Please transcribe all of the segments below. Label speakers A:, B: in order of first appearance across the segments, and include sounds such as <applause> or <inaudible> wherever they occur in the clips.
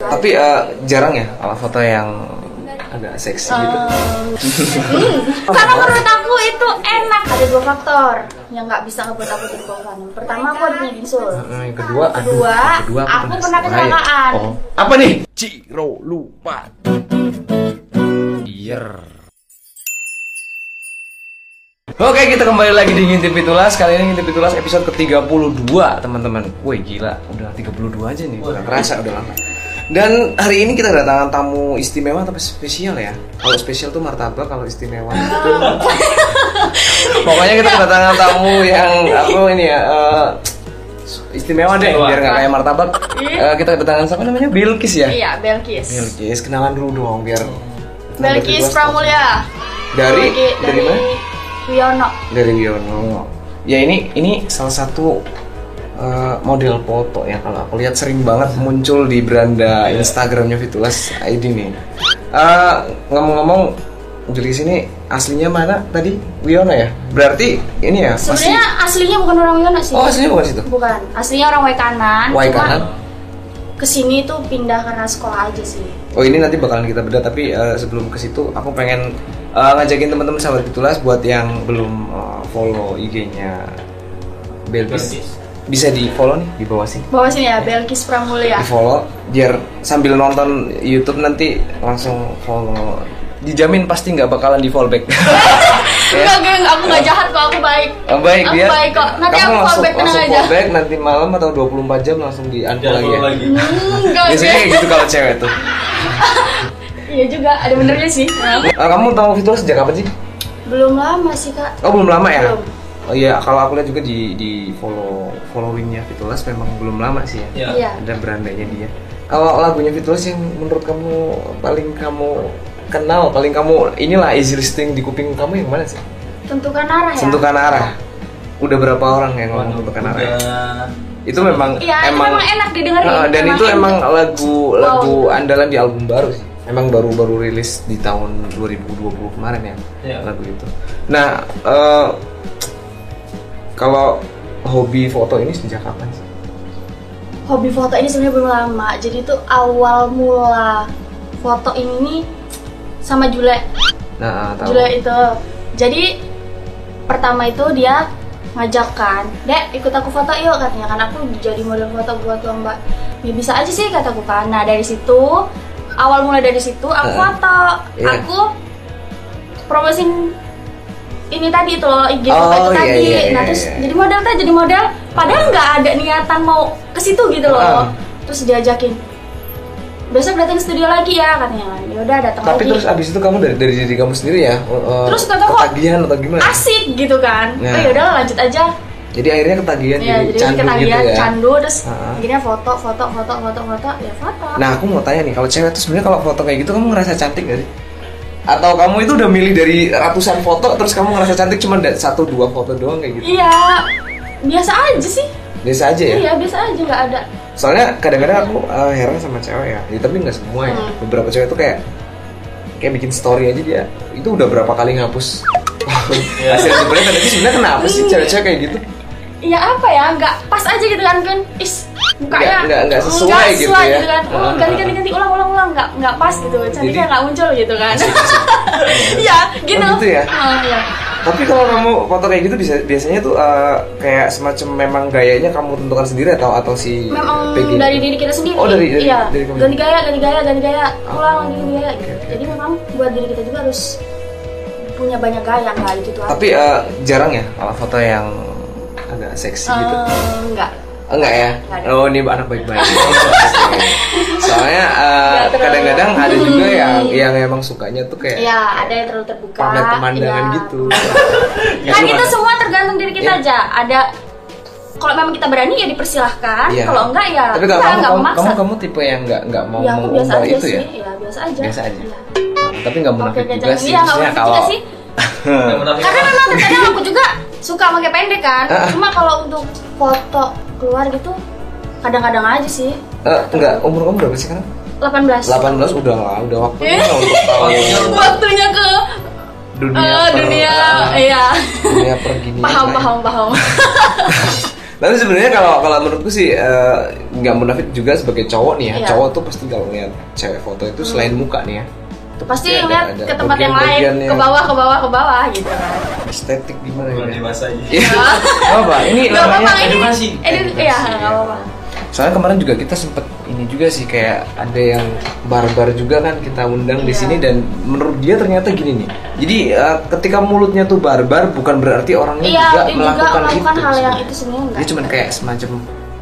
A: Tapi eh, jarang ya ala foto yang agak seksi gitu.
B: Eh,
A: Oh, iya.
C: Karena menurut aku itu enak.
B: Ada dua faktor yang nggak bisa ngebuat aku terbosan. Yang pertama aku punya bisul.
A: Nah, yang kedua, aduh,
B: Kedua,
A: yang kedua
B: aku pernah
A: bahaya.
B: kecelakaan.
A: Oh, apa nih? Ciro lupa. Yer. Oke, kita kembali lagi di Ngintip Pitulas. Kali ini Ngintip Pitulas episode ke-32, teman-teman. Woi, gila. Udah 32 aja nih. Udah kerasa, udah lama. Dan hari ini kita kedatangan tamu istimewa tapi spesial ya. Kalau spesial tuh martabak, kalau istimewa itu Pokoknya kita kedatangan tamu yang aku ini ya eh, istimewa deh biar nggak kayak martabak. Eh, kita kedatangan siapa namanya? Bilkis ya.
B: Iya, Belkis.
A: Bilkis kenalan dulu dong biar
B: Belkis Pramulya.
A: dari
B: Oke,
A: dari mana?
B: Wiono.
A: Dari Wiono. Ya ini ini salah satu eh, model foto ya kalau aku lihat sering banget muncul di beranda Instagramnya Fitulas ID nih. Eh, ngomong-ngomong Julis ini aslinya mana tadi? Wiono ya? Berarti ini ya masih
B: Sebenarnya aslinya bukan orang Wiono sih.
A: Oh, aslinya bukan situ.
B: Bukan. Aslinya orang Waikanan.
A: Wai
B: Ah, cuma
A: kanan.
B: Kesini tuh pindah karena sekolah aja sih.
A: Oh ini nanti bakalan kita bedah tapi eh, sebelum ke situ aku pengen eh, ngajakin teman-teman sahabat Pitulas buat yang belum eh, follow IG-nya Belkis bisa di follow nih di bawah sini
B: Bawa sini ya, Belkis Pramulya.
A: di follow biar sambil nonton YouTube nanti langsung follow dijamin pasti nggak bakalan di follow back
B: <laughs> <laughs> Enggak, enggak, enggak, aku nggak jahat kok, aku baik.
A: Eh, baik
B: aku
A: dia
B: baik kok. Nanti
A: kamu
B: aku
A: langsung,
B: call back tenang
A: langsung
B: aja.
A: follow back nanti malam atau 24 jam langsung di unfollow lagi ya
D: lagi.
B: Hmm, Enggak,
A: biasanya
B: enggak.
A: kayak gitu kalau cewek
B: <laughs>
A: tuh
B: Iya juga, ada benernya sih.
A: Eh, kamu tahu Fitulas sejak kapan sih
B: Belum lama sih, Kak.
A: Oh belum lama ya?
B: Belum.
A: Oh iya, kalau aku lihat juga di di follow followingnya Fitulas memang belum lama sih ya.
D: Ya.
B: Iya.
A: Ada berandanya dia. Kalau lagunya Fitulas yang menurut kamu paling kamu kenal, paling kamu inilah easy listening di kuping kamu yang mana sih?
B: Tentukan arah ya.
A: Sentuhkan arah. Udah berapa orang yang ngomong
D: Waduh,
A: sentuhkan
D: udah
A: arah? ya? Itu memang
B: Iya, itu
A: emang
B: memang enak didengerin.
A: Ah, dan itu
B: enak.
A: emang lagu lagu andalan di album baru sih. Emang baru-baru rilis di tahun 2020 kemarin ya
D: Iya.
A: lagu itu. Nah, eh, kalau hobi foto ini sejak kapan sih?
B: hobi foto ini sebenarnya belum lama jadi itu awal mula foto ini nih sama Jule
A: Nah, ah, tahu.
B: Jule itu jadi pertama itu dia ngajak kan dek ikut aku foto yuk katanya kan aku jadi model foto buat lomba ya bisa aja sih kataku kan nah dari situ awal mula dari situ
A: Eh,
B: aku foto
A: iya.
B: aku promosin ini tadi itu loh IG foto
A: Oh,
B: itu
A: iya,
B: tadi
A: iya, iya,
B: nah terus
A: iya.
B: jadi model tadi jadi model padahal nggak ada niatan mau ke situ gitu
A: Ah.
B: loh terus diajakin besok datang studio lagi ya katanya kan ya udah datang
A: Tapi
B: lagi
A: terus abis itu kamu dari, dari diri kamu sendiri ya? eh,
B: Terus kata kok-
A: ketagihan atau gimana?
B: asik gitu kan
A: Nah.
B: oh ya udahlah lanjut aja
A: Jadi akhirnya ketagihan
B: ya
A: jadi,
B: jadi
A: candu
B: ketagihan
A: gitu ya.
B: candu terus
A: Ah.
B: akhirnya foto foto foto foto foto ya foto
A: Nah, aku mau tanya nih, kalau cewek tuh sebenarnya kalau foto kayak gitu kamu ngerasa cantik gak sih? Atau kamu itu udah milih dari ratusan foto terus kamu ngerasa cantik cuma da- satu dua foto doang kayak gitu?
B: iya biasa aja sih
A: Biasa aja ya.
B: iya biasa aja nggak ada
A: Soalnya kadang-kadang aku eh, heran sama cewek ya, Ya, tapi nggak semua ya.
B: Hmm.
A: Beberapa cewek tuh kayak kayak bikin story aja dia itu udah berapa kali ngapus hasil jebretnya tapi sebenarnya kenapa sih
B: Iya.
A: cewek-cewek kayak gitu
B: ya apa ya nggak pas aja gitu kan kan is mukanya
A: Nggak- nggak- nggak sesuai gitu ya.
B: kan oh,
A: Ah.
B: ganti ganti ganti ulang ulang ulang nggak nggak pas gitu cantiknya
A: Jadi-
B: nggak muncul gitu kan <laughs> ya gitu
A: Oh, gitu ya?
B: Ah, iya.
A: tapi kalau kamu foto kayak gitu bisa biasanya tuh eh, kayak semacam memang gayanya kamu tentukan sendiri atau atau si
B: memang
A: PG?
B: dari diri kita sendiri
A: Oh, dari- dari-
B: iya
A: dari kamu.
B: ganti gaya ganti gaya ganti gaya
A: Ah.
B: ulang lagi ganti gaya gitu.
A: Oke, oke.
B: jadi memang buat diri kita juga harus punya banyak gaya nggak gitu aja.
A: tapi eh, jarang ya kalau foto yang agak seksi gitu
B: Eh, enggak
A: Enggak ya?
B: Enggak ada.
A: Oh ini anak
B: <laughs>
A: baik-baik Soalnya eh,
B: Enggak terlalu.
A: kadang-kadang ada juga yang yang emang sukanya tuh kayak
B: ya ada yang terlalu terbuka
A: pamer pemandangan
B: iya.
A: gitu Ya,
B: kan
A: lu
B: itu
A: ada-
B: semua tergantung diri kita
A: Iya.
B: aja ada kalau memang kita berani ya dipersilahkan
A: Iya.
B: kalau enggak ya
A: Tapi
B: kita
A: kalau kamu,
B: nggak
A: kamu,
B: memaksa
A: kamu, kamu tipe yang nggak nggak mau
B: ya aku biasa
A: mengumbar
B: aja
A: itu
B: sih
A: ya?
B: ya biasa aja
A: Biasa aja.
B: Iya.
A: Tapi nggak
B: oke
A: munafik
B: oke
A: juga
B: jangan
A: sih
B: iya nggak
A: Maksudnya
B: munafik
A: kalau
B: juga sih
A: Hmm.
B: karena memang terkadang aku juga suka pakai pendek kan
A: Iya. Ah.
B: cuma kalau untuk foto keluar gitu kadang-kadang aja sih
A: Eh, enggak, umur kamu berapa sih sekarang?
B: 18
A: 18 udah lah, udah
B: <laughs>
A: waktunya lah untuk tahu
B: Iya. waktunya ke
A: dunia
B: eh,
A: per-
B: dunia
A: eh,
B: iya
A: dunia pergini <laughs>
B: paham paham paham
A: Tapi sebenarnya kalau kalau menurutku sih eh, nggak munafik juga sebagai cowok nih ya.
B: Iya. Hmm.
A: Cowok tuh pasti kalau ngeliat cewek foto itu selain muka nih ya. itu
B: pasti
A: ada-
B: ngeliat
A: ada
B: ke tempat yang lain
A: bagian-bagian yang
B: ke bawah ke bawah ke bawah gitu kan
A: Estetik gimana
D: Kurang
A: ya?
D: dewasa aja.
A: Iya. Nggak apa, ini
B: Gak apa-apa
A: namanya-
B: ini
D: edukasi.
B: edu-
D: Edukasi,
B: iya
D: ya.
B: gak apa-apa
A: Soalnya kemarin juga kita sempet ini juga sih kayak ada yang barbar juga kan kita undang di
B: Iya.
A: sini dan menurut dia ternyata gini nih. Jadi eh, ketika mulutnya tuh barbar bukan berarti orangnya
B: iya
A: juga,
B: ini juga
A: melakukan,
B: melakukan
A: itu.
B: hal yang
A: sebenarnya. Iya, ya.
B: itu sebenarnya enggak
A: Dia cuma kayak semacam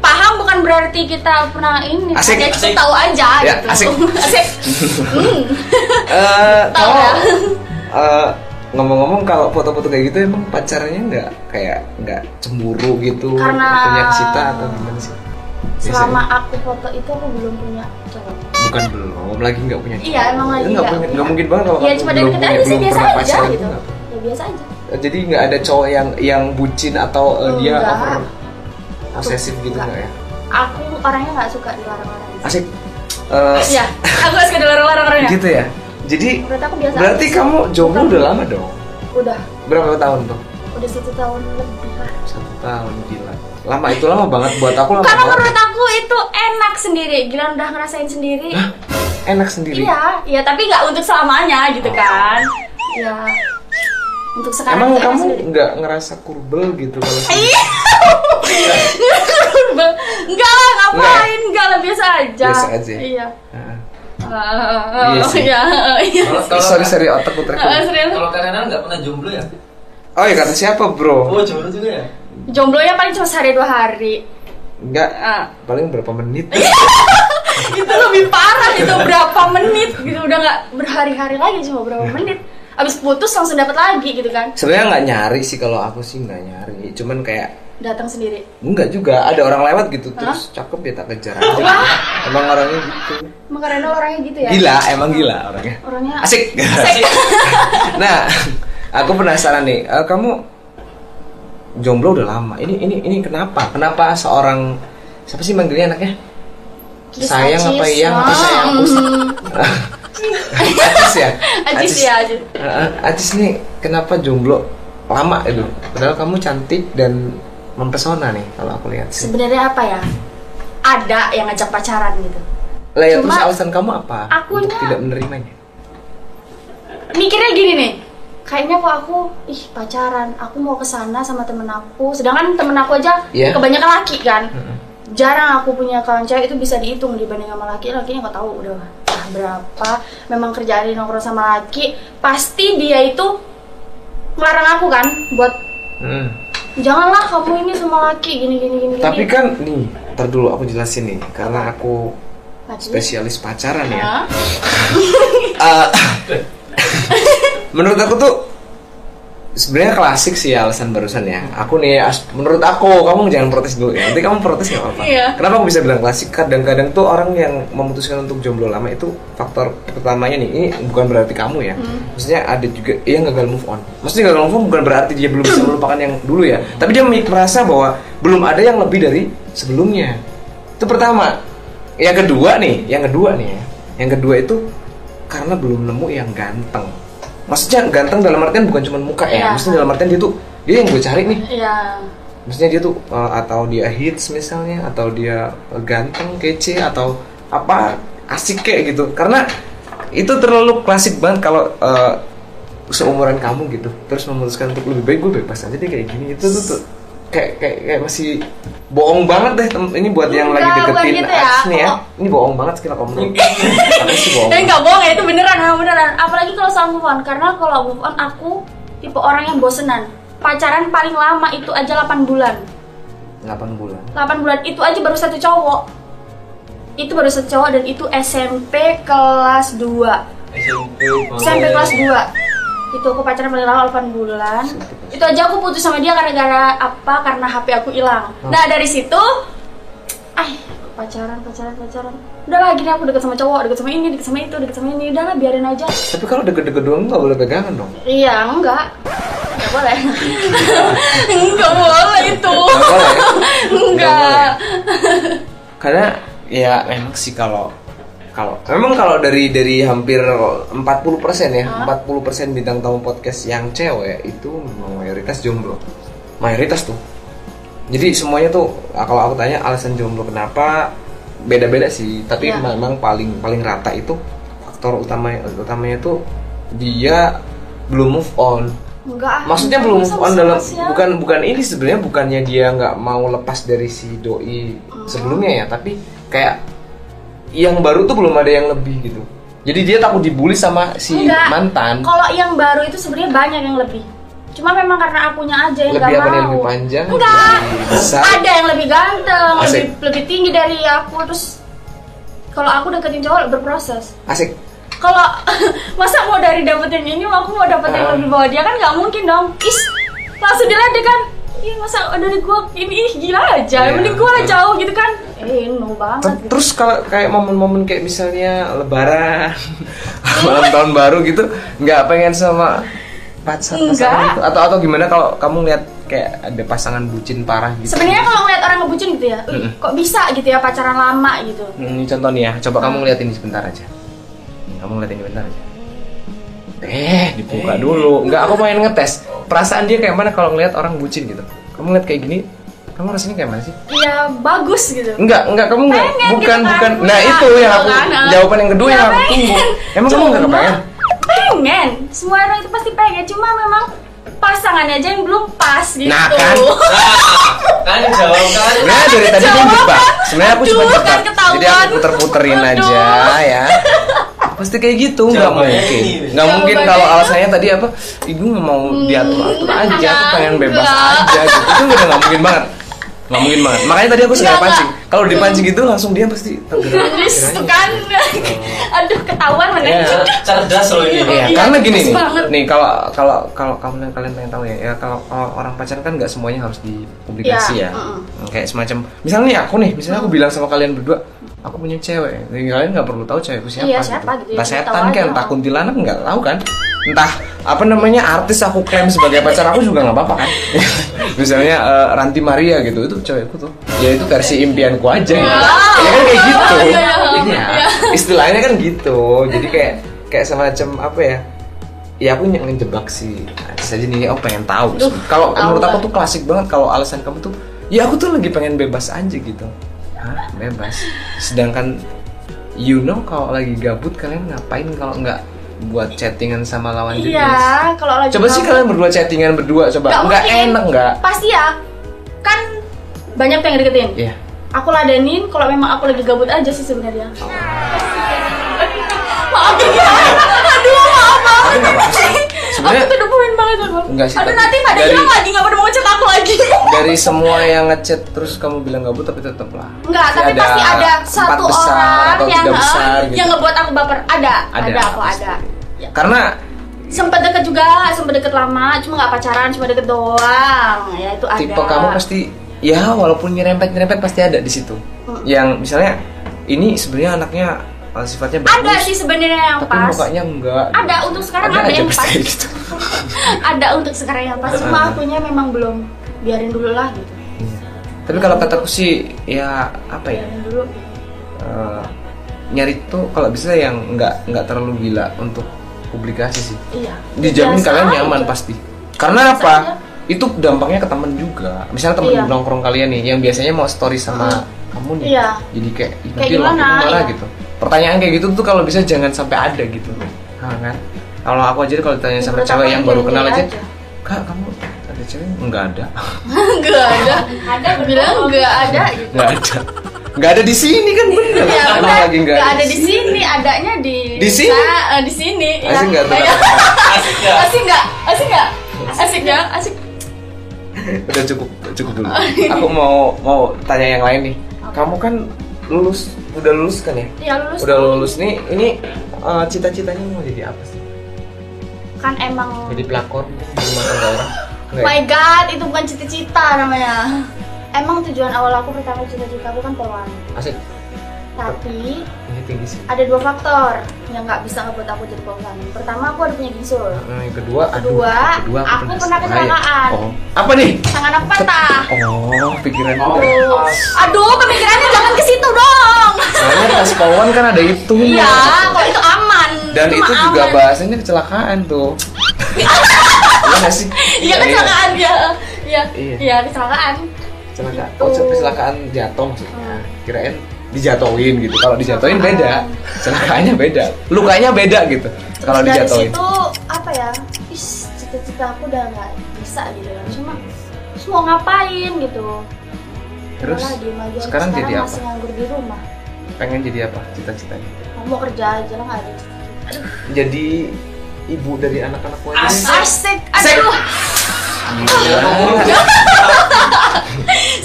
B: paham bukan berarti kita pernah ini
A: Asik.
B: hanya cukup
D: Asik.
B: tahu aja
A: Ya,
B: gitu
A: asik.
B: <laughs> asik Hmm.
A: eh
B: Tahu
A: kalau
B: ya?
A: eh, ngomong-ngomong kalau foto-foto kayak gitu emang pacarnya nggak kayak nggak cemburu gitu
B: Karena-
A: punya cita atau gimana sih? Biasanya.
B: selama aku foto itu aku belum punya cowok
A: bukan belum lagi nggak punya
B: iya emang
A: Itu
B: lagi
A: nggak punya- nggak mungkin banget kalau
B: iya
A: kamu
B: cuma
A: belum
B: dari kita
A: punya-
B: aja sih
A: belum
B: biasa
A: pernah
B: aja
A: pacaran
B: gitu
A: nggak?
B: ya biasa aja
A: jadi nggak ada cowok yang yang bucin atau eh, dia
B: Enggak.
A: over posesif gitu
B: Enggak.
A: nggak ya
B: aku orangnya nggak suka dilarang-larang
A: asik Eh,
B: Iya, aku gak suka dilarang-larang orangnya
A: gitu ya jadi
B: menurut aku biasa
A: berarti
B: aja sih.
A: kamu jomblo
B: Bukan.
A: udah lama dong
B: udah
A: berapa tahun tuh
B: udah satu tahun lebih lah
A: satu tahun gila lama itu lama banget buat aku lama
B: karena
A: banget
B: menurut aku itu enak sendiri Gilang udah ngerasain sendiri
A: enak sendiri
B: iya iya tapi nggak untuk selamanya gitu kan ya untuk sekarang
A: Oh. Emang
B: tuh enak
A: kamu
B: sendiri. Iya.
A: nggak ngerasa kurbel gitu kalau sendiri?
B: <laughs> enggak lah ngapain enggak lah biasa aja
A: Biasa aja.
B: iya
A: Heeh.
B: Ah,
A: Iya sih.
B: <laughs> iya iya
D: Kalau
A: sorry sorry otak putra
B: Ah, serius
D: kalau karena nggak pernah jomblo ya?
A: Oh ya kata siapa bro?
D: Oh jomblo juga ya?
B: jomblonya paling cuma sehari dua hari
A: Nggak
B: Ah.
A: paling berapa menit?
B: itu lebih parah itu berapa menit gitu udah nggak berhari-hari lagi cuma berapa
A: Iya.
B: menit abis putus langsung dapat lagi gitu kan
A: Sebenarnya nggak nyari sih kalau aku sih nggak nyari. Cuman kayak
B: datang sendiri
A: nggak juga ada orang lewat gitu terus cakep ya tak kejar aja. Emang orangnya gitu.
B: emang karena orangnya gitu ya
A: Gila emang gila orangnya.
B: orangnya
A: Asik. <laughs> nah, aku penasaran nih. eh, kamu jomblo udah lama. Ini ini ini kenapa? Kenapa seorang siapa sih manggilnya anaknya?
B: Kis-
A: sayang
B: acis.
A: apa iya? Apa
B: Ah,
A: sayang?
B: <laughs>
A: Acis ya?
B: hmm. acis ya acis
A: Heeh, Acis nih kenapa jomblo lama itu? Padahal kamu cantik dan mempesona nih kalau aku lihat sih.
B: sebenarnya apa ya ada yang ngajak pacaran gitu
A: Lah ya
B: Cuma
A: terus alasan kamu apa?
B: akunya-
A: Untuk tidak menerimanya.
B: mikirnya gini nih kayaknya kok aku ih pacaran aku mau kesana sama temen aku sedangkan temen aku aja
A: Iya.
B: kebanyakan laki kan jarang aku punya kawan cewek itu bisa dihitung dibanding sama laki lakinya nggak tahu udah entah berapa memang kerjaan di nongkrong sama laki pasti dia itu ngelarang aku kan buat
A: Hmm.
B: janganlah kamu ini sama laki gini gini gini
A: Tapi
B: gini.
A: kan nih, ntar dulu aku jelasin nih karena aku
B: Laki.
A: spesialis pacaran ya.
B: Hah?
A: Eh, <laughs> menurut aku tuh sebenarnya klasik sih ya alasan barusan ya. Aku nih as- menurut aku kamu jangan protes dulu ya. Nanti kamu protes nggak apa-apa.
B: Iya.
A: Kenapa aku bisa bilang klasik? Kadang-kadang tuh orang yang memutuskan untuk jomblo lama itu faktor pertamanya nih. Ini bukan berarti kamu ya. Maksudnya ada juga yang gagal move on. Maksudnya gagal move on bukan berarti dia belum bisa melupakan yang dulu ya. Tapi dia mi- merasa bahwa belum ada yang lebih dari sebelumnya. Itu pertama. Yang kedua nih, yang kedua nih ya. Yang kedua itu karena belum nemu yang ganteng. Maksudnya ganteng dalam artian bukan cuma muka ya.
B: Iya.
A: Maksudnya dalam artian dia tuh dia yang gue cari nih
B: ya
A: maksudnya dia tuh uh, atau dia hits misalnya atau dia uh, ganteng kece atau apa asik kayak gitu karena itu terlalu klasik banget kalau uh, seumuran kamu gitu terus memutuskan untuk lebih baik gue bebas aja deh kayak gini itu tuh, tuh kayak, kayak kayak masih bohong banget deh tem- ini buat yang lagi
B: Enggak, bukan
A: deketin
B: gitu ya.
A: artis nih ya
B: Kalau-
A: ini bohong banget sih kalau kamu
B: <laughs>
A: Apa sih bohong
B: Eh nggak bohong ya itu beneran, ah, beneran. Apalagi kalau sama move on, karena kalau move on aku tipe orang yang bosenan. Pacaran paling lama itu aja 8 bulan.
A: 8 bulan
B: 8 bulan itu aja baru satu cowok. Itu baru satu cowok dan itu SMP kelas 2.
D: SMP.
B: SMP kelas 2. Itu aku pacaran paling lama 8 bulan. Itu aja aku putus sama dia gara-gara apa? Karena HP aku hilang. Nah, dari situ ah pacaran pacaran pacaran udah lah gini aku deket sama cowok deket sama ini deket sama itu deket sama ini udah lah biarin aja
A: tapi kalau deket-deket doang nggak boleh pegangan dong
B: Iya, enggak. Enggak boleh. <laughs> enggak boleh itu. <laughs>
A: nggak ya? boleh ya?
B: Enggak.
A: karena ya memang sih kalau kalau memang kalau dari dari hampir 40% ya 40% bintang tamu podcast yang cewek itu memang mayoritas jomblo mayoritas tuh Jadi semuanya tuh ah, kalau aku tanya alasan jomblo kenapa beda-beda sih, tapi
B: Iya.
A: memang paling paling rata itu faktor utama utamanya itu dia belum move on.
B: Enggak.
A: Maksudnya
B: enggak
A: belum
B: bisa
A: move on
B: bisa
A: dalam
B: Mas, ya.
A: bukan bukan ini sebenarnya bukannya dia nggak mau lepas dari si doi
B: Hmm.
A: sebelumnya ya, tapi kayak yang baru tuh belum ada yang lebih gitu. Jadi dia takut dibully sama si
B: Enggak.
A: mantan.
B: Kalau yang baru itu sebenarnya banyak yang lebih. Cuma memang karena akunya aja yang
A: Lebih
B: gak
A: apa
B: mau.
A: nih, lebih panjang?
B: Enggak.
A: Lebih besar?
B: Ada yang lebih ganteng,
A: Asik.
B: lebih lebih tinggi dari aku terus kalau aku deketin cowok berproses.
A: Asik.
B: Kalau <laughs> masa mau dari dapetin ini aku mau dapetin yang
A: Ah.
B: lebih bawah dia kan nggak mungkin dong. Is langsung diledek kan. Ih masa dari gua ini ih, gila aja.
A: Iya,
B: Mending gua
A: betul.
B: jauh gitu kan. Eh no banget.
A: Ter- Terus kalau kayak momen-momen kayak misalnya
B: <laughs>
A: lebaran, malam tahun baru gitu, nggak pengen sama pacar pasangan
B: Nggak.
A: itu atau atau gimana kalau kamu lihat kayak ada pasangan bucin parah gitu?
B: Sebenarnya kalau ngeliat orang ngebucin gitu ya, "Ih,
A: Mm-mm.
B: kok bisa gitu ya pacaran lama gitu.
A: Hmm, ini contoh nih ya, coba
B: Ah.
A: kamu lihat ini sebentar aja. Nih, Kamu lihat ini sebentar aja. Eh, dibuka dulu. Nggak, aku pengen ngetes perasaan dia kayak mana kalau ngelihat orang bucin gitu. Kamu lihat kayak gini, kamu rasanya kayak mana sih?
B: Iya bagus gitu.
A: Enggak, enggak kamu enggak.
B: Pengen gitu
A: Mm, bukan,
B: kan,
A: bukan. Nah,
B: punya,
A: itu yang aku
B: gitu kan, ah.
A: jawaban yang kedua
B: Ya,
A: yang aku
B: pengen.
A: tunggu. Emang kamu enggak
B: Cuma-
A: kepengen?
B: Pengen. Semua orang itu pasti pengen. Cuma memang pasangannya aja yang belum pas gitu.
A: Nah, kan.
D: Kan jawab kan.
A: Sebenarnya dari tadi kan jebak. Sebenarnya aku cuma
B: Aduh, kan
A: jebak.
B: ketahuan.
A: Jadi aku puter-puterin aja
B: Aduh.
A: ya. Pasti kayak gitu, nggak
D: Jawabannya
A: mungkin.
D: ini.
A: Nggak mungkin
B: Jawabannya gitu.
A: kalau
B: itu-
A: alasannya tadi apa? Ibu nggak mau diatur-atur aja, aku pengen bebas
B: enggak.
A: aja. Gitu. Itu udah nggak mungkin banget. Nggak mungkin banget. Makanya tadi aku sengaja
B: Enggak,
A: pancing. Kalau dipancing gitu langsung dia pasti tenggelam.
B: Terus tuh kan. Aduh ketahuan mana.
A: Oh. Iya.
D: Cerdas loh ini.
A: Iya,
B: Iya,
A: karena gini
B: bagus
A: nih,
B: banget.
A: nih kalau kalau kalau kamu kalian pengen tahu ya, ya kalau, kalau orang pacaran kan nggak semuanya harus dipublikasi ya.
B: Iya, mm-mm.
A: Kayak semacam, misalnya nih aku nih, misalnya aku bilang sama kalian berdua, aku punya cewek. Jadi kalian nggak perlu tahu cewekku siapa.
B: Iya, siapa gitu,
A: Entah
B: ya, kita
A: setan
B: tahu
A: kayak
B: aja.
A: entah kuntilanak nggak tahu kan. Entah apa namanya artis aku klaim sebagai pacar aku juga nggak apa-apa kan. <laughs> misalnya eh, Ranti Maria gitu itu cewekku tuh. Ya itu versi impianku aja. gitu. Ya kan kayak gitu.
B: <laughs> Iya, iya, iya.
A: Iya istilahnya kan gitu jadi kayak kayak semacam apa ya ya aku yang ngejebak sih saja nih oh pengen tahu
B: Duh,
A: kalau
B: tahu
A: menurut aku
B: banget.
A: tuh klasik banget kalau alasan kamu tuh ya aku tuh lagi pengen bebas aja gitu Hah, bebas sedangkan you know kalau lagi gabut kalian ngapain kalau nggak buat chattingan sama lawan
B: Iya.
A: jenis
B: Kalau lagi
A: coba sih
B: kamu-
A: kalian berdua chattingan berdua
B: Nggak
A: coba nggak
B: mungkin.
A: enak nggak
B: Pasti ya. Kan banyak yang deketin.
A: Iya
B: Aku ladenin kalau memang aku lagi gabut aja sih sebenarnya. maaf ya. Aduh, maaf
A: Tapi nggak
B: banget.
A: apa-apa sih.
B: Aku
A: Sebenarnya-
B: tuh udah poin banget aku.
A: Enggak sih,
B: Aduh,
A: tapi
B: nanti pada
A: dari-
B: hilang lagi nggak pada mau ngechat aku
A: <laughs>
B: lagi.
A: dari semua yang ngechat terus kamu bilang gabut tapi tetep lah
B: Enggak, tapi pasti ada
A: empat
B: satu
A: besar
B: orang
A: atau
B: yang
A: tiga besar,
B: eh,
A: gitu.
B: yang ngebuat aku baper. Ada,
A: Ada,
B: ada, aku
A: pasti.
B: ada. Ya.
A: karena
B: Sempet deket juga, sempet deket lama, cuma nggak pacaran, cuma deket doang. Ya itu ada.
A: tipe kamu pasti ya walaupun nyerempet nyerempet pasti ada di situ
B: Mm.
A: yang misalnya ini sebenarnya anaknya uh, sifatnya bagus
B: ada sih sebenarnya yang
A: tapi
B: pas.
A: mukanya enggak gitu.
B: Ada untuk sekarang ada,
A: aja
B: yang
A: pasti
B: pas.
A: kayak gitu
B: <laughs>
A: Ah.
B: ada untuk sekarang yang pas. Cuma akunya memang belum biarin dulu lah gitu.
A: Iya. tapi kalau kataku sih ya apa ya
B: Biarin dulu.
A: uh, nyari tuh kalau bisa yang enggak enggak terlalu gila untuk publikasi sih
B: Iya.
A: dijamin
B: Biasa
A: kalian
B: aja.
A: nyaman
B: <laughs>
A: pasti karena
B: Biasa
A: apa
B: aja.
A: itu dampaknya ke temen juga misalnya temen
B: Iya.
A: nongkrong kalian nih yang biasanya mau story sama kamu nih
B: Iya.
A: jadi kayak "Ih,
B: Kayak
A: gila,
B: gimana,
A: aku gimana
B: iya.
A: gitu pertanyaan kayak gitu tuh kalau bisa jangan sampai ada gitu Nah, kan kalau aku aja kalau ditanya sama
B: Menurut
A: cewek
B: aku
A: yang baru
B: jangan
A: kenal
B: jadi
A: aja
B: aja.
A: kak kamu ada cewek nggak ada <laughs>
B: Enggak ada. Ada bilang enggak ada. gitu.
A: nggak ada nggak ada di sini kan bener
B: Ya,
A: Kenapa
B: udah,
A: lagi nggak
B: nggak ada di sini, adanya di
A: Di sini?
B: Nah, eh, di sini. ya.
A: Asik nggak tuh?
B: Ya.
D: Asik ya.
B: <laughs> Asik nggak? Asik nggak? Asik ya? Asik.
A: udah cukup cukup
B: Oh,
A: dulu
B: iya.
A: aku mau mau tanya yang lain nih kamu kan lulus udah lulus kan ya
B: Ya lulus.
A: udah lulus nih ini eh, cita-citanya mau jadi apa sih
B: Kan emang.
A: jadi pelakor di rumah tangga orang Enggak
B: My
A: ya?
B: God, itu bukan cita-cita namanya. Emang tujuan awal aku pertama cita-cita aku kan Polri.
A: asik
B: Tapi
A: ini tinggi sih
B: ada dua faktor yang nggak bisa ngebuat aku jadi Polri. Pertama aku ada punya gisul.
A: Nah, yang kedua aduh,
B: Kedua,
A: yang
B: aku
A: penasaran.
B: pernah kecelakaan.
A: oh. apa nih
B: Tangan aku patah.
A: oh pikiran
D: Oh.
A: gue
B: Aduh, pemikirannya jangan ke situ dong.
A: soalnya pas pawon kan ada itu
B: Iya, kalau itu aman.
A: dan
B: mah
A: itu juga
B: aman.
A: bahasanya kecelakaan
B: <laughs>
A: tuh Iya nggak sih
B: Iya kecelakaan ya. Iya,
A: Iya.
B: iya kecelakaan.
A: Celaka,
B: Gitu.
A: oh, kecelakaan jatuh maksudnya.
B: Hmm.
A: Kirain dijatoin gitu. Kalau dijatoin beda, celakanya beda. Lukanya beda gitu.
B: Terus
A: Kalau
B: dari
A: dijatoin.
B: situ apa ya is cita-cita aku udah nggak bisa gitu kan cuma terus mau ngapain gitu
A: Terus
B: Malah diem aja.
A: sekarang jadi apa?
B: masih nganggur di rumah
A: pengen jadi apa cita-citanya?
B: Nggak mau kerja aja lah nggak gitu. ada
A: Jadi ibu dari anak-anakku aja. deh.
B: asik aduh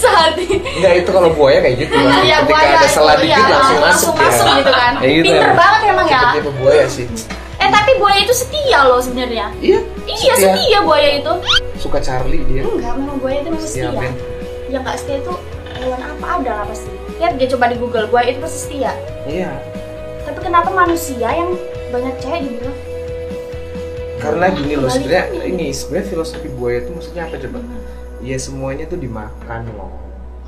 B: sehati
A: Enggak Iya. itu kalau buaya kayak gitu.
B: Iya,
A: Ketika
B: buaya
A: ada selah
B: itu,
A: dikit
B: iya,
A: langsung masuk ya.
B: masuk gitu
A: <laughs>
B: kan
A: Ya gitu
B: pinter
A: emang.
B: banget emang ya
A: Tipe-tipe buaya sih.
B: eh tapi buaya itu setia loh sebenarnya
A: Iya.
B: iya setia buaya itu
A: Suka Charlie dia.
B: enggak memang buaya itu memang
A: Setia
B: setia
A: Ben.
B: yang nggak setia itu hewan apa ada lah pasti lihat dia coba di Google buaya itu pasti setia
A: Iya.
B: tapi kenapa manusia yang banyak cewek dibilang
A: Karena gini loh sebenarnya
B: Kebalikannya.
A: ini sebenarnya filosofi buaya itu maksudnya apa coba? Ya semuanya tuh dimakan loh.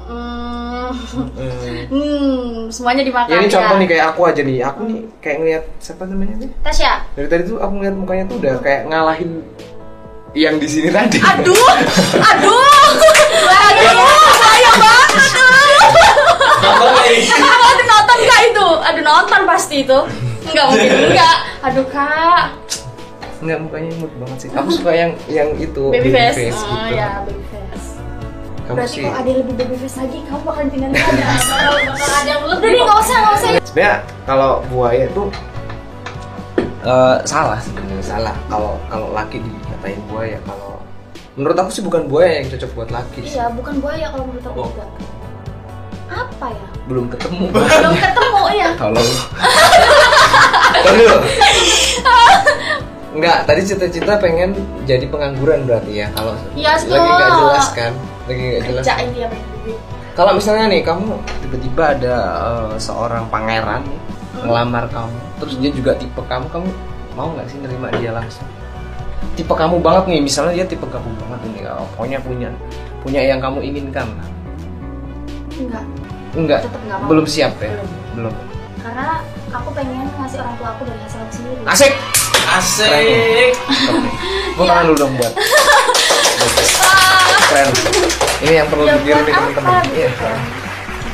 B: hmm,
A: Mm.
B: hmm semuanya dimakan
A: Ya ini contoh nih kayak aku aja nih. Aku nih kayak ngeliat siapa namanya nih?
B: Tasya
A: Dari tadi tuh aku ngeliat mukanya tuh udah kayak ngalahin yang di sini tadi.
B: aduh aduh aduh sayang banget
D: Apa nih?
B: Kenapa aduh nonton kak itu? Aduh nonton pasti itu Enggak mungkin enggak Aduh kak
A: Enggak mukanya imut banget sih. Aku suka yang yang itu
B: Baby face
A: gitu.
B: Oh ya baby face
A: Kamu
B: Berarti
A: sih.
B: kalau ada yang lebih baby face lagi Kamu bakal dengan <laughs> ada Bakal ada yang lebih Iya. Udah deh nggak usah nggak usah
A: Sebenarnya kalau buaya tuh eh, salah sebenarnya salah. Kalau kalau laki dikatain buaya kalau menurut aku sih bukan buaya yang cocok buat laki sih.
B: Iya bukan buaya kalau menurut
A: Oh.
B: aku juga Apa ya?
A: Belum ketemu.
B: Belum ketemu ya
A: Tolong. Tolong. Enggak, tadi cita-cita pengen jadi pengangguran berarti ya kalau
B: Iya,
A: lagi nggak
B: betul.
A: jelas kan, lagi nggak jelas.
B: Kerjain dia pakai duit
A: Kalau misalnya nih kamu tiba-tiba ada eh, seorang pangeran nih, ngelamar kamu, terus dia juga tipe kamu, kamu mau nggak sih nerima dia langsung? Tipe kamu banget nih, misalnya dia tipe kamu banget ini, oh, pokoknya punya punya yang kamu inginkan.
B: Enggak
A: Enggak,
B: Tetep nggak mau.
A: belum siap ya, belum.
B: Karena aku pengen ngasih orang tua aku dari hasil aku sendiri Ya,
A: Asik.
D: Asik.
A: Gue tangan dulu dong buat. Bagus. Keren. Ini yang perlu
B: Ya,
A: ditiru
B: buat
A: nih teman-teman.
B: apa gitu
A: Iya.
B: kan?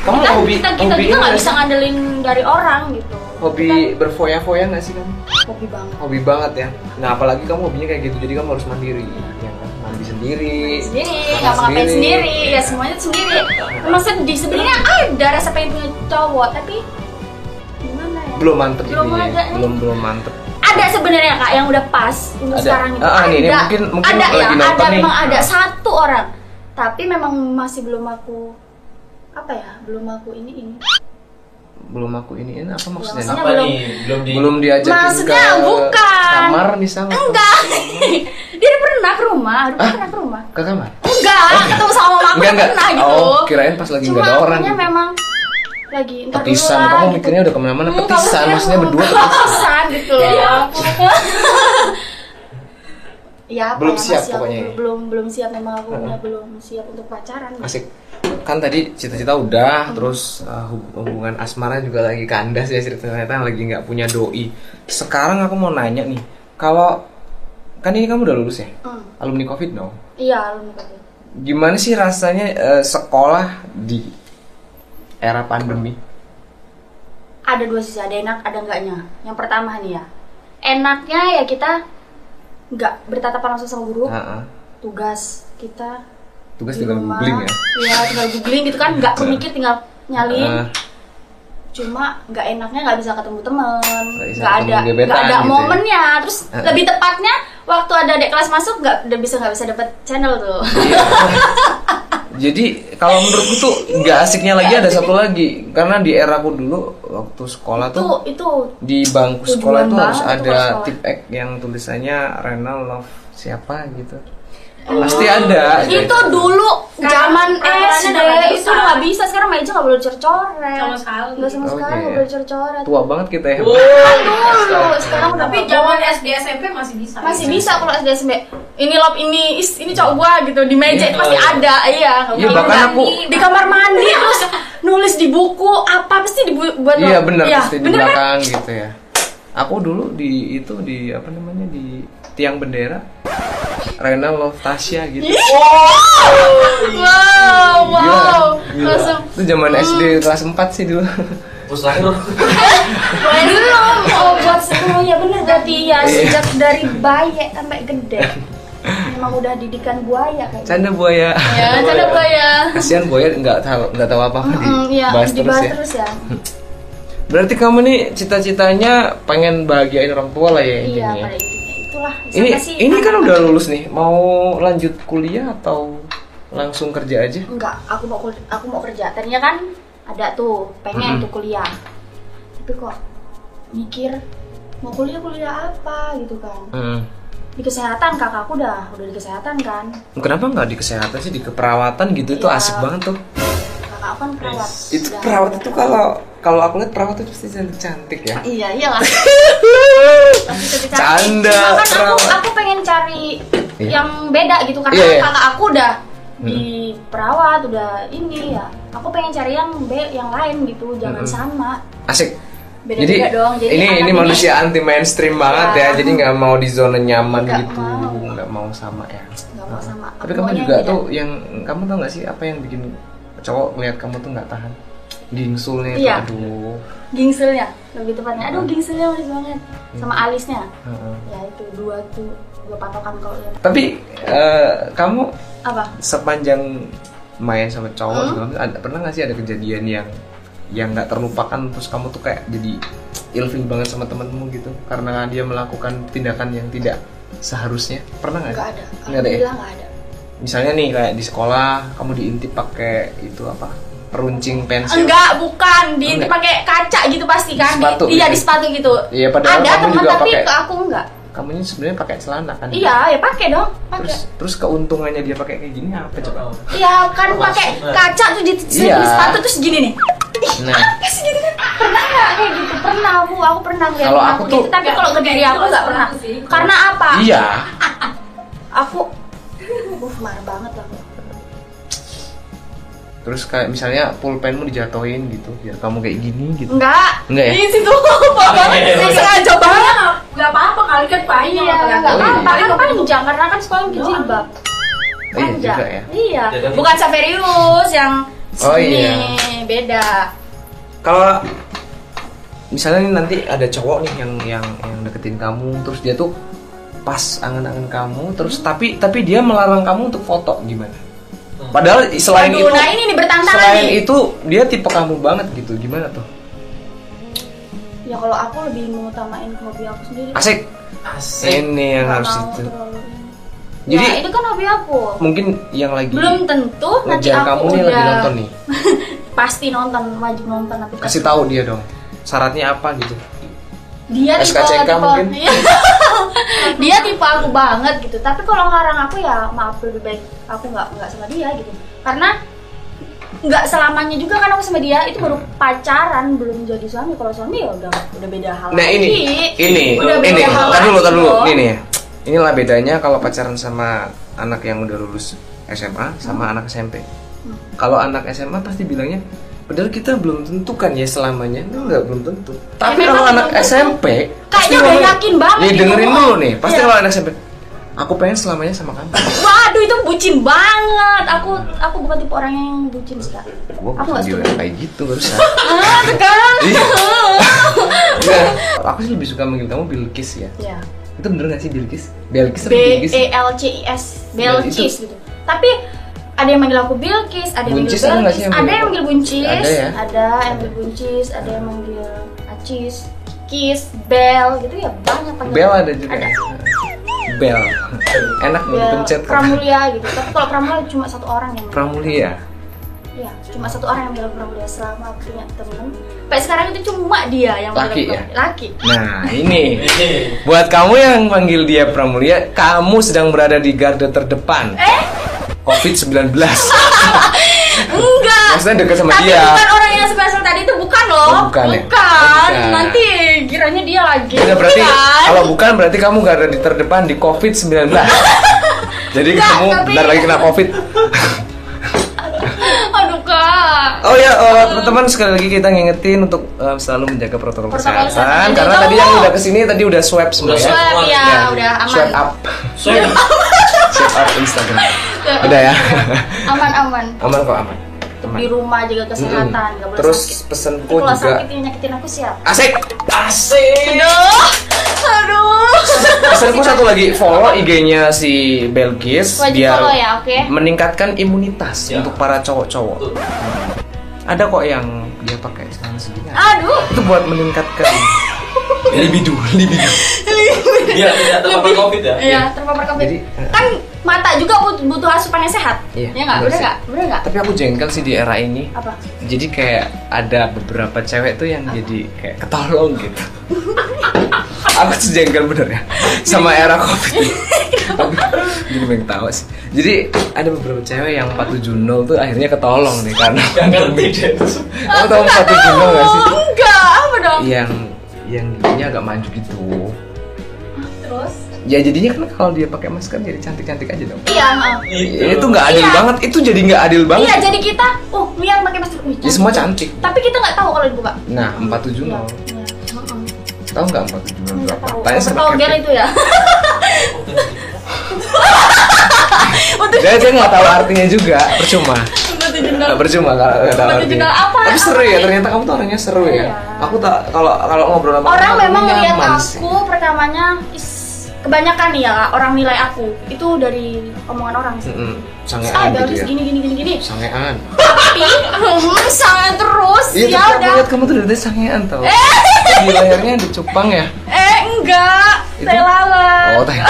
A: Kamu
B: kan
A: hobi
B: kita kita
A: hobi ini
B: juga nggak
A: nggak
B: bisa
A: sih?
B: ngandelin dari orang gitu
A: hobi berfoya-foya nggak sih kamu?
B: hobi banget
A: hobi banget ya nah apalagi kamu hobinya kayak gitu jadi kamu harus mandiri ya kan mandi sendiri
B: sendiri
A: makan
B: nggak ngapain sendiri ya semuanya tuh sendiri emang sedih sebenarnya ada rasa pengen punya cowok tapi gimana ya
A: belum mantep
B: Belum
A: ininya ya.
B: ada nih.
A: belum belum mantep
B: ada sebenarnya kak yang udah pas untuk
A: Ada.
B: sekarang itu
A: Ah, ah,
B: ada
A: nih, nih, mungkin- mungkin
B: ada
A: lagi
B: ya
A: nonton
B: ada
A: nih.
B: memang ada
A: Ah.
B: satu orang tapi memang masih belum aku apa ya belum aku ini ini
A: belum aku iniin apa maksudnya
B: maksudnya-
D: Apa nih? Belum di
A: belum diajakin
B: Maksudnya
A: ke
B: bukan.
A: kamar misalnya
B: enggak <laughs> dia udah pernah ke rumah udah pernah ke rumah
A: ke kamar
B: enggak ketemu sama mama
A: Oh,
B: aku
A: iya. enggak enggak
B: pernah gitu
A: oh kirain pas lagi
B: Cuma
A: nggak ada orang gitu.
B: akunya memang lagi ntar dulu
A: petisan
B: lah,
A: kamu
B: gitu.
A: mikirnya udah kemana-mana
B: Hmm, kamu
A: petisan
B: kira
A: maksudnya
B: mau <laughs>
A: berdua
B: petisan gitu loh.
D: Ya
B: Ya, apa
A: Belum
B: ya,
A: siap
B: masih aku
A: pokoknya ya.
B: Belum belum siap memang aku punya belum siap untuk pacaran. gitu.
A: asik kan tadi cita-cita udah terus uh, hub- hubungan asmara juga lagi kandas ya ternyata lagi nggak punya doi sekarang aku mau nanya nih kalau kan ini kamu udah lulus ya
B: Hmm.
A: alumni covid dong
B: Iya, belum ketemu.
A: gimana sih rasanya uh, sekolah di era pandemi
B: Ada dua sisi, ada enak, ada enggaknya. Yang pertama nih ya. Enaknya ya kita nggak bertatapan langsung sama guru,
A: Heeh.
B: tugas kita
A: tugas
B: di
A: tinggal
B: rumah.
A: googling ya
B: Oh. Iya, tinggal googling gitu kan, nggak pemikir tinggal
A: Heeh.
B: nyalin. cuma nggak enaknya nggak bisa ketemu temen
A: Nggak bisa
B: nggak ada
A: ketemu gebetan
B: nggak ada
A: gitu ya.
B: momennya terus
A: Heeh.
B: lebih tepatnya waktu ada adik kelas masuk nggak udah bisa nggak bisa dapet channel tuh
A: Iya,
B: <laughs>
A: Jadi kalau menurutku tuh nggak asiknya lagi ada satu lagi karena di era aku dulu waktu sekolah
B: itu
A: tuh
B: itu
A: di bangku
B: Tujuan
A: sekolah itu harus
B: banget tuh
A: ada
B: kalau sekolah.
A: tip X yang tulisannya Renal Love siapa gitu. Pasti ada.
B: Oh. itu dulu zaman
C: peraturannya
B: SD
C: udah nggak
B: itu
C: bisa.
B: udah nggak bisa sekarang meja nggak boleh coret-coret
C: Sama sekali.
B: nggak sama
A: Oke. iya.
B: sekali nggak boleh coret-coret
A: Tua banget kita ya.
B: dulu sekarang udah
C: Tapi
B: nggak
C: zaman
B: boleh.
C: SD SMP masih bisa.
B: masih bisa kalau SD SMP ini lop ini is, ini cowok gua gitu di meja itu pasti ada iya nggak
A: Iya,
B: boleh.
A: bahkan aku
B: di kamar mandi terus nulis Iya. di buku apa pasti dibuat kan?
A: iya benar pasti di belakang gitu ya. Aku dulu di itu di apa namanya di tiang bendera. Rena love Tasya gitu.
B: Wow, wow.
A: Gila.
B: Langsung
A: Itu zaman SD kelas 4 sih dulu. <laughs>
D: Terus lahir
B: dulu oh, buat semuanya bener berarti
A: Iya.
B: ya sejak dari bayi sampai gede. Memang udah didikan buaya kayaknya.
A: Canda buaya.
B: Ya, canda buaya.
A: Kasihan buaya nggak tahu nggak tahu apa-apa di
B: Mm-mm, Iya,
A: bahas terus
B: dibahas
A: ya.
B: terus ya.
A: Berarti kamu nih cita-citanya pengen bahagiain orang tua lah ya
B: Iya,
A: intinya. ya.
B: pada intinya itulah.
A: ini
B: Sampai sih
A: ini kan
B: anak-
A: udah lulus nih. Mau lanjut kuliah atau langsung kerja aja?
B: enggak aku mau kul- aku mau kerja tadinya kan ada tuh pengen
A: Mm-mm.
B: tuh kuliah tapi kok mikir mau kuliah kuliah apa gitu kan
A: Hmm.
B: di kesehatan kakakku udah udah di kesehatan kan
A: Kenapa nggak di kesehatan sih di keperawatan gitu itu
B: Iya.
A: asik banget tuh.
B: kakak kan perawat
A: Itu
B: Udah.
A: perawat itu kalau kalau aku lihat perawat itu pasti cantik, cantik ya.
B: iya
A: <laughs>
B: iyalah Pasti cantik-cantik.
A: Canda,
B: Cuma kan aku
A: perawat.
B: aku pengen cari
A: Iya.
B: yang beda gitu karena
A: Iya, iya.
B: kakak aku udah di perawat udah ini ya aku pengen cari yang be yang lain gitu
A: Mm-mm.
B: jangan sama
A: Asik.
B: beda beda dong jadi
A: ini
B: anak
A: ini manusia anti mainstream banget ya,
B: Ya.
A: jadi nggak mau di zona nyaman
B: Nggak
A: gitu,
B: mau.
A: nggak mau sama ya.
B: Nggak mau sama. ya.
A: Tapi
B: Aku
A: kamu
B: maunya
A: juga
B: yang beda.
A: tuh yang kamu tau nggak sih apa yang bikin cowok ngeliat kamu tuh nggak tahan gingsulnya itu,
B: Iya.
A: aduh.
B: gingselnya lebih tepatnya aduh gingselnya manis banget
A: Hmm.
B: sama alisnya
A: Heeh.
B: ya itu dua tuh dua patokan kalau lihat
A: Tapi eh, kamu
B: apa
A: sepanjang main sama cowok
B: Hmm?
A: segala macam, ada pernah nggak sih ada kejadian yang yang nggak terlupakan terus kamu tuh kayak jadi ilfil banget sama temenmu gitu karena dia melakukan tindakan yang tidak seharusnya pernah nggak?
B: nggak
A: Nggak
B: ada
A: ada ya?
B: alhamdulillah nggak ada
A: misalnya nih kayak di sekolah kamu diintip pakai itu apa peruncing pensil
B: enggak bukan di
A: Enggak.
B: pakai kaca gitu pasti
A: Di
B: kan
A: sepatu
B: di, iya
A: gitu.
B: di sepatu gitu
A: Iya, padahal
B: ada
A: kamu
B: teman
A: juga
B: tapi
A: pakai.
B: ke aku enggak
A: kamu ini sebenarnya pakai celana kan
B: iya ya pakai dong pakai
A: terus terus keuntungannya dia pakai kayak gini apa coba
B: iya kan
D: Masuk,
B: pakai
D: Mbak.
B: kaca tuh di,
A: Hmm. Iya.
B: di sepatu terus gini nih
A: nah
B: Terus gitu kan pernah nggak kayak gitu pernah aku aku pernah ngeliat
A: Kalau
B: temen
A: aku tuh-
B: gitu, tapi kalau ke diri aku nggak pernah karena apa
A: iya
B: aku Aduh, marah banget aku
A: terus kayak misalnya pulpenmu dijatuhin gitu biar kamu kayak gini gitu
B: Enggak.
A: Enggak ya?
B: Di situ <laughs> apa banget?
D: Iya, iya, iya.
B: Sengaja banget.
C: Gak apa-apa kali kan bayi
B: Iya,
C: yang
A: Oh,
B: enggak
A: iya.
B: apa-apa. Kan panjang karena kan sekolah berjilbab. Hmm,
A: Eh, iya juga ya
B: Iya.
D: Jadi-
B: Bukan Saverius yang
A: Oh,
B: sini
A: iya.
B: beda.
A: kalau misalnya nih nanti ada cowok nih yang yang yang deketin kamu terus dia tuh pas angan-angan kamu
B: Hmm.
A: terus tapi tapi dia melarang kamu untuk foto gimana padahal selain
B: Waduh,
A: itu
B: nah ini nih bertantangan
A: selain
B: nih.
A: itu dia tipe kamu banget gitu gimana tuh
B: Ya kalau aku lebih mengutamain hobi aku sendiri.
A: asik
D: Asik.
A: ini yang
B: Nggak
A: harus
B: mau
A: itu
B: terlalu ini.
A: Jadi-
B: ya, itu kan hobi aku.
A: mungkin yang lagi
B: Belum tentu nanti
A: ngejar
B: aku
A: kamu nih
B: udah
A: lagi nonton nih
B: pasti nonton, wajib nonton tapi kan
A: kasih tahu dia dong syaratnya apa gitu
B: dia tipe,
A: SKCK
B: tipe
A: mungkin.
B: Iya. <laughs> dia tipe aku banget gitu tapi kalau ngarang aku ya maaf lebih baik aku nggak nggak sama dia gitu karena nggak selamanya juga kan aku sama dia itu baru pacaran belum jadi suami kalau suami ya udah udah beda hal
A: nah ini
B: lagi.
A: ini
B: udah beda
A: ini
B: hal
A: tar dulu
B: lagi
A: tar dulu
B: dong.
A: ini nih ya. inilah bedanya kalau pacaran sama anak yang udah lulus SMA
B: Hmm.
A: sama anak SMP kalau anak SMA pasti bilangnya padahal kita belum tentukan ya selamanya enggak belum tentu tapi
B: Eh, memang
A: kalau
B: belum
A: anak
B: tentu.
A: SMP pasti
B: Kayaknya udah
A: ngomongnya-
B: yakin banget
A: nih
B: gitu
A: dengerin
B: ngomong.
A: dulu nih pasti
B: Iya.
A: kalau anak SMP aku pengen selamanya sama kamu
B: waduh itu bucin banget aku aku bukan tipe orang yang bucin sih kak
A: Gua
B: aku nggak
A: bilang
B: setuju
A: kayak gitu
B: <laughs>
A: barusan
B: ah sekarang
A: Iya. Nah, aku sih lebih suka manggil kamu Bilkis ya.
B: ya
A: Itu bener gak sih Bilkis? Bilkis
B: B
A: atau Bilkis?
B: E L C I S
A: Nah,
B: Belcis
A: itu-
B: gitu. Tapi ada yang manggil aku Bilkis, ada yang
A: Buncis ada
B: manggil
A: nggak sih
B: Belkis,
A: yang
B: ada
A: manggil
B: yang
A: aku?
B: manggil Buncis,
A: Ada ya?
B: ada yang manggil Buncis, ada yang manggil Acis, Kikis, Bel gitu ya banyak panggilan.
A: Bel ada juga. Bel. Enak mau
B: Bel,
A: dipencet kan?
B: Pramulia gitu. Tapi kalau Pramulia cuma satu orang yang manggil.
A: Pramulia.
B: Iya, cuma satu orang yang manggil aku Pramulia selama aku punya temen. Sampai sekarang itu cuma dia yang
A: Laki
B: manggil aku
A: ya?
B: Pramulia. Laki.
A: Nah, ini
D: Ini.
A: buat kamu yang manggil dia Pramulia, kamu sedang berada di garda terdepan.
B: Eh?
A: Covid-19.
B: <laughs> Enggak.
A: Maksudnya dekat sama
B: Tapi
A: dia.
B: bukan orang yang spesial tadi itu bukan loh.
A: Oh, bukan ya?
B: Bukan.
A: Bukan.
B: Nanti kiranya dia lagi. Iya kan?
A: Ya berarti
B: Bukan.
A: kalau bukan berarti kamu garda di terdepan di Covid-19. Jadi
B: Enggak,
A: kamu
B: tapi-
A: bentar lagi kena Covid.
B: Aduh kak.
A: Oh ya, eh, teman-teman sekali lagi kita ngingetin untuk eh, selalu menjaga protokol, kesehatan
B: Protokol kesehatan.
A: karena
B: Jangan
A: tadi
B: jauh.
A: yang udah kesini tadi udah swab semua
D: Udah
A: ya.
D: swab,
B: Swab ya,
A: Ya,
B: udah aman.
A: Swab up,
D: So,
A: <laughs> swab up Instagram.
B: Swab
A: Udah ya.
B: Aman aman.
A: <laughs> aman kok aman. Aman.
B: Di rumah jaga kesehatan,
A: Mm-mm.
B: nggak boleh
A: Terus
B: sakit. Nanti
A: pesenku
B: kalau
A: juga
B: sakit yang nyakitin aku siapa?
A: asik.
D: asik.
B: Aduh, aduh.
A: Pesenku satu lagi follow IG-nya si Belgis
B: Wajib
A: biar
B: follow ya, oke?
A: meningkatkan imunitas
D: Ya.
A: untuk para cowok-cowok. Ada kok yang dia pakai sekarang segini.
B: Aduh,
A: Itu buat
B: <laughs>
A: meningkatkan libido, libido.
D: Biar tidak Iya, terpapar covid ya.
B: Iya, terpapar covid.
A: Jadi, eh.
B: kan mata juga but- butuh asupan yang sehat.
A: Iya,
B: Ya nggak,
A: bener
B: bener
A: sih.
B: nggak, bener nggak?
A: Tapi aku jengkel sih di era ini.
B: Apa?
A: Jadi kayak ada beberapa cewek tuh yang jadi kayak ketolong
B: <laughs>
A: gitu. aku tuh jengkel bener ya sama era covid
B: <laughs>
A: ini. Tapi jadi pengen tahu sih. Jadi ada beberapa cewek yang 470 tuh akhirnya ketolong nih
B: <laughs>
A: karena
D: Gak
B: kan?
A: <laughs>
D: ngerti deh.
A: kamu tahu 470 gak sih?
B: Oh, enggak, apa dong?
A: Yang yang giginya agak maju gitu.
B: Terus?
A: Ya jadinya kan kalau dia pakai masker jadi cantik-cantik aja dong.
B: Iya, heeh.
A: Itu nggak adil
B: Iya.
A: banget. Itu jadi nggak adil banget.
B: Iya, jadi kita, uh, lihat pakai masker. Wih,
A: Jadi semua cantik.
B: Tapi kita nggak tahu kalau dibuka.
A: Nah, 470.
B: Iya. Iya. heeh.
A: Tahu nggak 470
B: Nggak
A: berapa?
B: tahu.
A: Tanya sama
B: Overtogel
A: Kevin.
B: itu ya. Untuk
A: Dia aja nggak tahu artinya juga, percuma.
B: untuk jendela.
A: Nggak percuma kalau nggak tahu
B: Berarti
A: artinya.
B: juga apa?
A: Tapi seru ya, ternyata kamu tuh orangnya seru ya.
B: Iya.
A: Aku tak kalau kalau ngobrol sama
B: Orang
A: kamu,
B: memang
A: aku
B: ngeliat
A: nyaman sih.
B: aku pertamanya is- kebanyakan nih ya Kak, orang nilai aku itu dari omongan orang sih.
A: Mm-mm,
B: Ah,
A: Sangean gitu
B: bagus
A: ya.
B: gini gini gini gini.
A: Sangean.
B: Tapi <laughs> hmm, sangat terus
A: Iya, tapi
B: ya
A: aku
B: udah.
A: lihat kamu tuh dari tadi sangean tau. Di layarnya ada cupang ya.
B: Eh enggak,
A: Itu-
B: saya lalat.
A: Oh, tanya.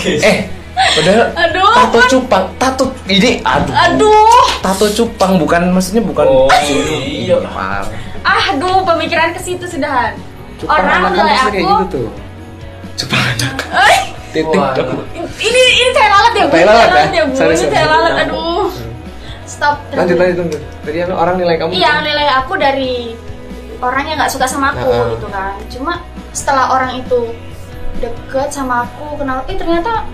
A: Eh, padahal
B: Aduh,
A: tato cupang, tato ini aduh.
B: Aduh,
A: Tato cupang bukan maksudnya bukan
D: Oh,
A: Iya,
D: iya.
A: parah.
B: aduh pemikiran ke situ sudahan.
A: Cupang
B: orang
A: anakan
B: nilai
A: biasanya kayak
B: aku.
A: gitu tuh. Cupang anakan.
B: Eh,
A: Titik
D: Wah.
A: dong.
B: ini ini saya lalat ya, Bu.
A: Tai
B: Saya
A: lalat,
B: lalat
A: ya?
B: ya, Bu.
A: Sorry,
B: Ini
A: sorry.
B: saya lalat. Aduh. Stop.
A: Lanjut lanjut lanjut. Tadi apa, orang nilai kamu.
B: Iya, nilai aku dari orang yang nggak suka sama aku
A: Nah, ah.
B: gitu kan. Cuma setelah orang itu deket sama aku, kenal, eh ternyata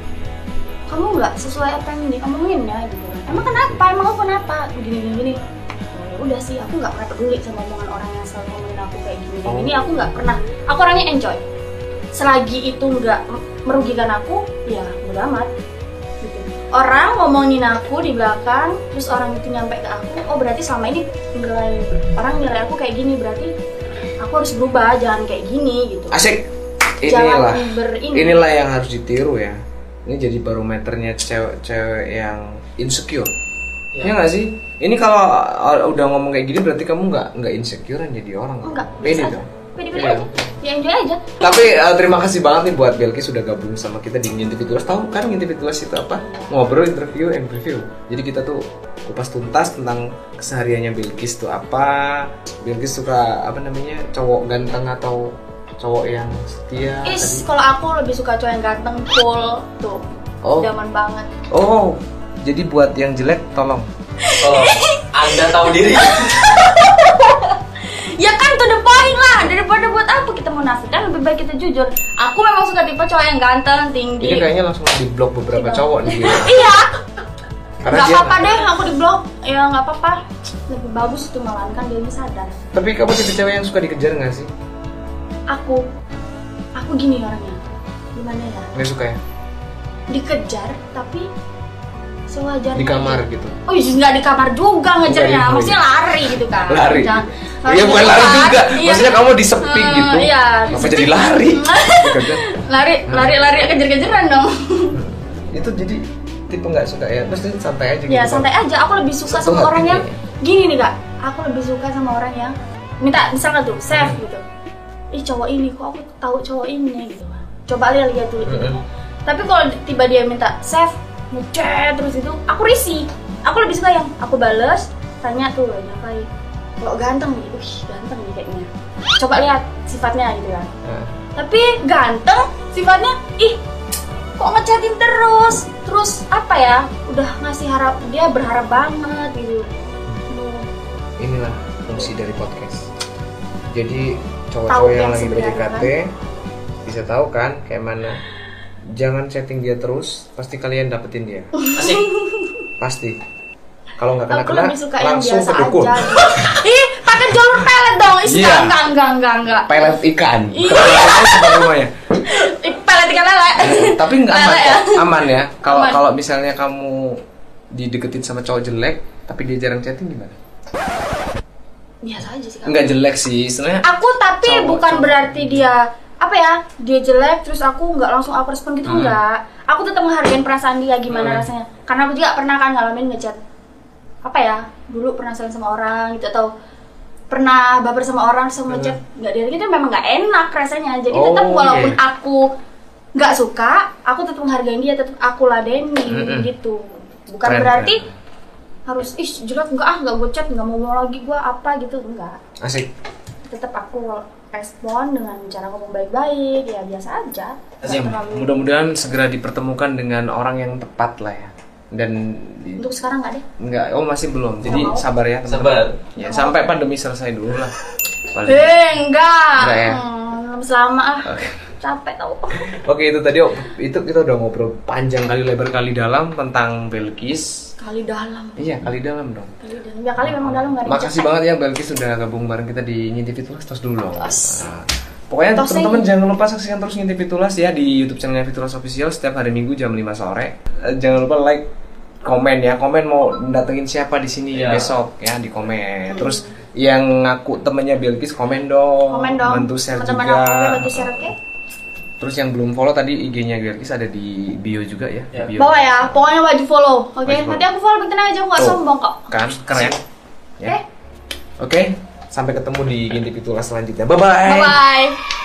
B: kamu nggak sesuai apa yang diomongin ya gitu. kan. Emang kenapa? Emang aku kenapa? Gini gini gini. Ya udah sih, aku nggak pernah peduli sama omongan orang yang selalu ngomongin aku kayak gini gini. gini. Aku nggak pernah. Aku orangnya enjoy. Selagi itu nggak merugikan aku, ya udah amat. Gitu. Orang ngomongin aku di belakang, terus orang itu nyampe ke aku, oh berarti selama ini nilai orang nilai aku kayak gini berarti aku harus berubah, jangan kayak gini gitu.
A: Asik.
B: Jangan
A: Inilah.
B: ber ini.
A: Inilah yang harus ditiru ya. Ini jadi barometernya cewek-cewek yang insecure. Iya nggak sih? Ini kalau uh, udah ngomong kayak gini berarti kamu nggak nggak insecurean jadi orang.
B: Enggak,
A: Pede
B: biasa aja.
A: dong.
B: Pede-pede
A: Iya.
B: aja. Ya enjoy aja.
A: Tapi uh, terima kasih banget nih buat Belki sudah gabung sama kita di Ngintip Itulas. Tahu kan Ngintip Itulas itu apa? Ngobrol, interview, and review. Jadi kita tuh kupas tuntas tentang kesehariannya Belkis tuh apa. Belkis suka apa namanya? cowok ganteng atau cowok yang setia
B: Is,
A: tadi.
B: kalau aku lebih suka cowok yang ganteng, cool, tuh.
A: Oh.
B: Zaman banget.
A: Oh, jadi buat yang jelek tolong.
D: Oh, anda tahu diri.
B: Ya kan to the point lah, daripada buat apa kita munafik kan lebih baik kita jujur. Aku memang suka tipe cowok yang ganteng, tinggi.
A: Ini kayaknya langsung di blok beberapa
B: Iya.
A: cowok nih.
B: <laughs> Iya.
A: Karena
B: Gak
A: dia
B: apa-apa deh aku di blok. Ya nggak apa-apa. Lebih bagus itu malahan kan dia ini sadar.
A: Tapi kamu tipe cewek yang suka dikejar nggak sih?
B: Aku aku gini orangnya. Gimana ya?
A: Nggak suka ya?
B: Dikejar tapi sewajarnya.
A: Di kamar gitu.
B: Oh iya nggak di kamar juga
A: Nggak di-
B: ngejarnya, maksudnya lari gitu kan?
A: lari.
B: Jangan-
A: Iya bukan lari
B: cepat.
A: juga.
B: Iya.
A: Maksudnya kamu di sepi
B: Hmm,
A: gitu.
B: iya, di
A: Kenapa
B: sepi.
A: jadi
B: <laughs>
A: lari? Kejar.
B: lari, lari, lari kejar-kejaran dong.
A: itu jadi tipe nggak suka ya. Maksudnya santai aja gitu.
B: Ya santai aja, aku lebih suka
A: Satu
B: sama orang
A: hatinya
B: yang gini nih kak. Aku lebih suka sama orang yang minta misalnya tuh chef
A: Hmm.
B: gitu. Ih cowok ini kok aku tahu cowok ini gitu. kan. Coba lihat lihat dulu. gitu.
A: Mm-mm.
B: Tapi kalau tiba dia minta chef ngechat terus itu, aku risih. Aku lebih suka yang aku bales, tanya tuh lo ngapain. Kalau ganteng nih, wih ganteng nih kayaknya. Coba lihat sifatnya gitu kan.
A: Nah,
B: Tapi ganteng sifatnya ih kok ngechatin terus terus apa ya udah ngasih harap dia berharap banget gitu Aduh,
A: inilah fungsi dari podcast. Jadi
B: Tahu
A: cowok-cowok yang
B: yang
A: lagi
B: sebenarnya,
A: PDKT bisa tahu kan kayak mana. Jangan chatting dia terus, pasti kalian dapetin dia.
D: Asik.
A: Pasti. Kalau nggak
B: Aku
A: kena-kena
B: lebih suka yang
A: langsung
B: biasa
A: ke dukun.
B: aja. gitu. Ih, pakai jalur pelet dong. Ih,
A: Iya.
B: enggak, enggak, enggak, enggak, enggak.
A: Pelet ikan.
B: Iya.
A: Pelet ikan rumahnya.
B: Ih, pelet ikan lele.
A: Tapi nggak aman,
B: Lele ya.
A: kok. aman ya. Kalau
B: Aman.
A: kalau misalnya kamu dideketin sama cowok jelek, tapi dia jarang chatting gimana?
B: Biasa aja sih. Kak.
A: Nggak jelek sih, sebenarnya
B: Aku tapi
A: Iya. Cowok,
B: bukan
A: cowok.
B: berarti dia apa ya dia jelek terus aku nggak langsung up respon gitu
A: Hmm.
B: enggak aku tetap menghargai perasaan dia gimana
A: Hmm.
B: rasanya karena aku juga pernah kan ngalamin ngechat apa ya dulu pernah sayang sama orang gitu atau pernah baper sama orang terus aku ngechat nggak dia itu memang nggak enak rasanya jadi
A: Hmm. Oh,
B: tetap walaupun
A: iya.
B: aku nggak suka aku tetap menghargai dia tetap aku ladeni
A: Mm-mm.
B: gitu bukan
A: Hmm. Keren,
B: berarti
A: keren.
B: harus ih jelek enggak ah nggak gue chat nggak mau mau lagi gue apa gitu enggak
A: asik.
B: tetap aku respon dengan cara ngomong baik-baik ya biasa aja Nggak
A: Ya,
B: terlalu-
A: mudah-mudahan segera dipertemukan dengan orang yang tepat lah ya. Dan di-
B: untuk sekarang nggak deh
A: Enggak, oh masih belum. Jadi
B: Nggak mau.
A: sabar ya teman-teman.
D: Sabar.
A: Ya, sampai pandemi selesai dulu lah. Paling.
B: eh enggak
A: Nggak Iya. ya?
B: Hmm, selama ah
A: Oke.
B: capek tau
A: Oke, itu tadi oh, itu kita udah ngobrol panjang kali lebar kali dalam tentang Belkis.
B: kali dalam
A: Iya, kali dalam dong.
B: kali dalam ya kali memang dalam nggak ada yang
A: Makasih
B: capek.
A: banget ya Belkis sudah gabung bareng kita di Ngintip Fitulas terus dulu. dong.
B: Tos.
A: Nah, Pokoknya
B: Tosnya
A: teman-teman
B: ini.
A: jangan lupa saksikan terus Ngintip Fitulas ya di YouTube channelnya Fitulas Official setiap hari Minggu jam 5 sore. Eh, Jangan lupa like, komen ya, komen mau datengin siapa di sini
D: Iya.
A: besok ya di komen.
B: Hmm.
A: Terus yang ngaku temennya Belkis komen dong,
B: komen dong
A: bantu share
B: teman-teman
A: juga.
B: aku ya, bantu share oke
A: Terus yang belum follow tadi IG-nya Belkis ada di bio juga ya.
D: Ya.
A: Di bio.
B: bawa ya pokoknya wajib follow oke
A: Wajib follow.
B: nanti aku follow tenang aja aku nggak
A: Tuh.
B: sombong kok
A: Kan keren.
B: oke
A: Ya. Oke, sampai ketemu di Ngintip Fitulas selanjutnya. Bye bye.
B: bye bye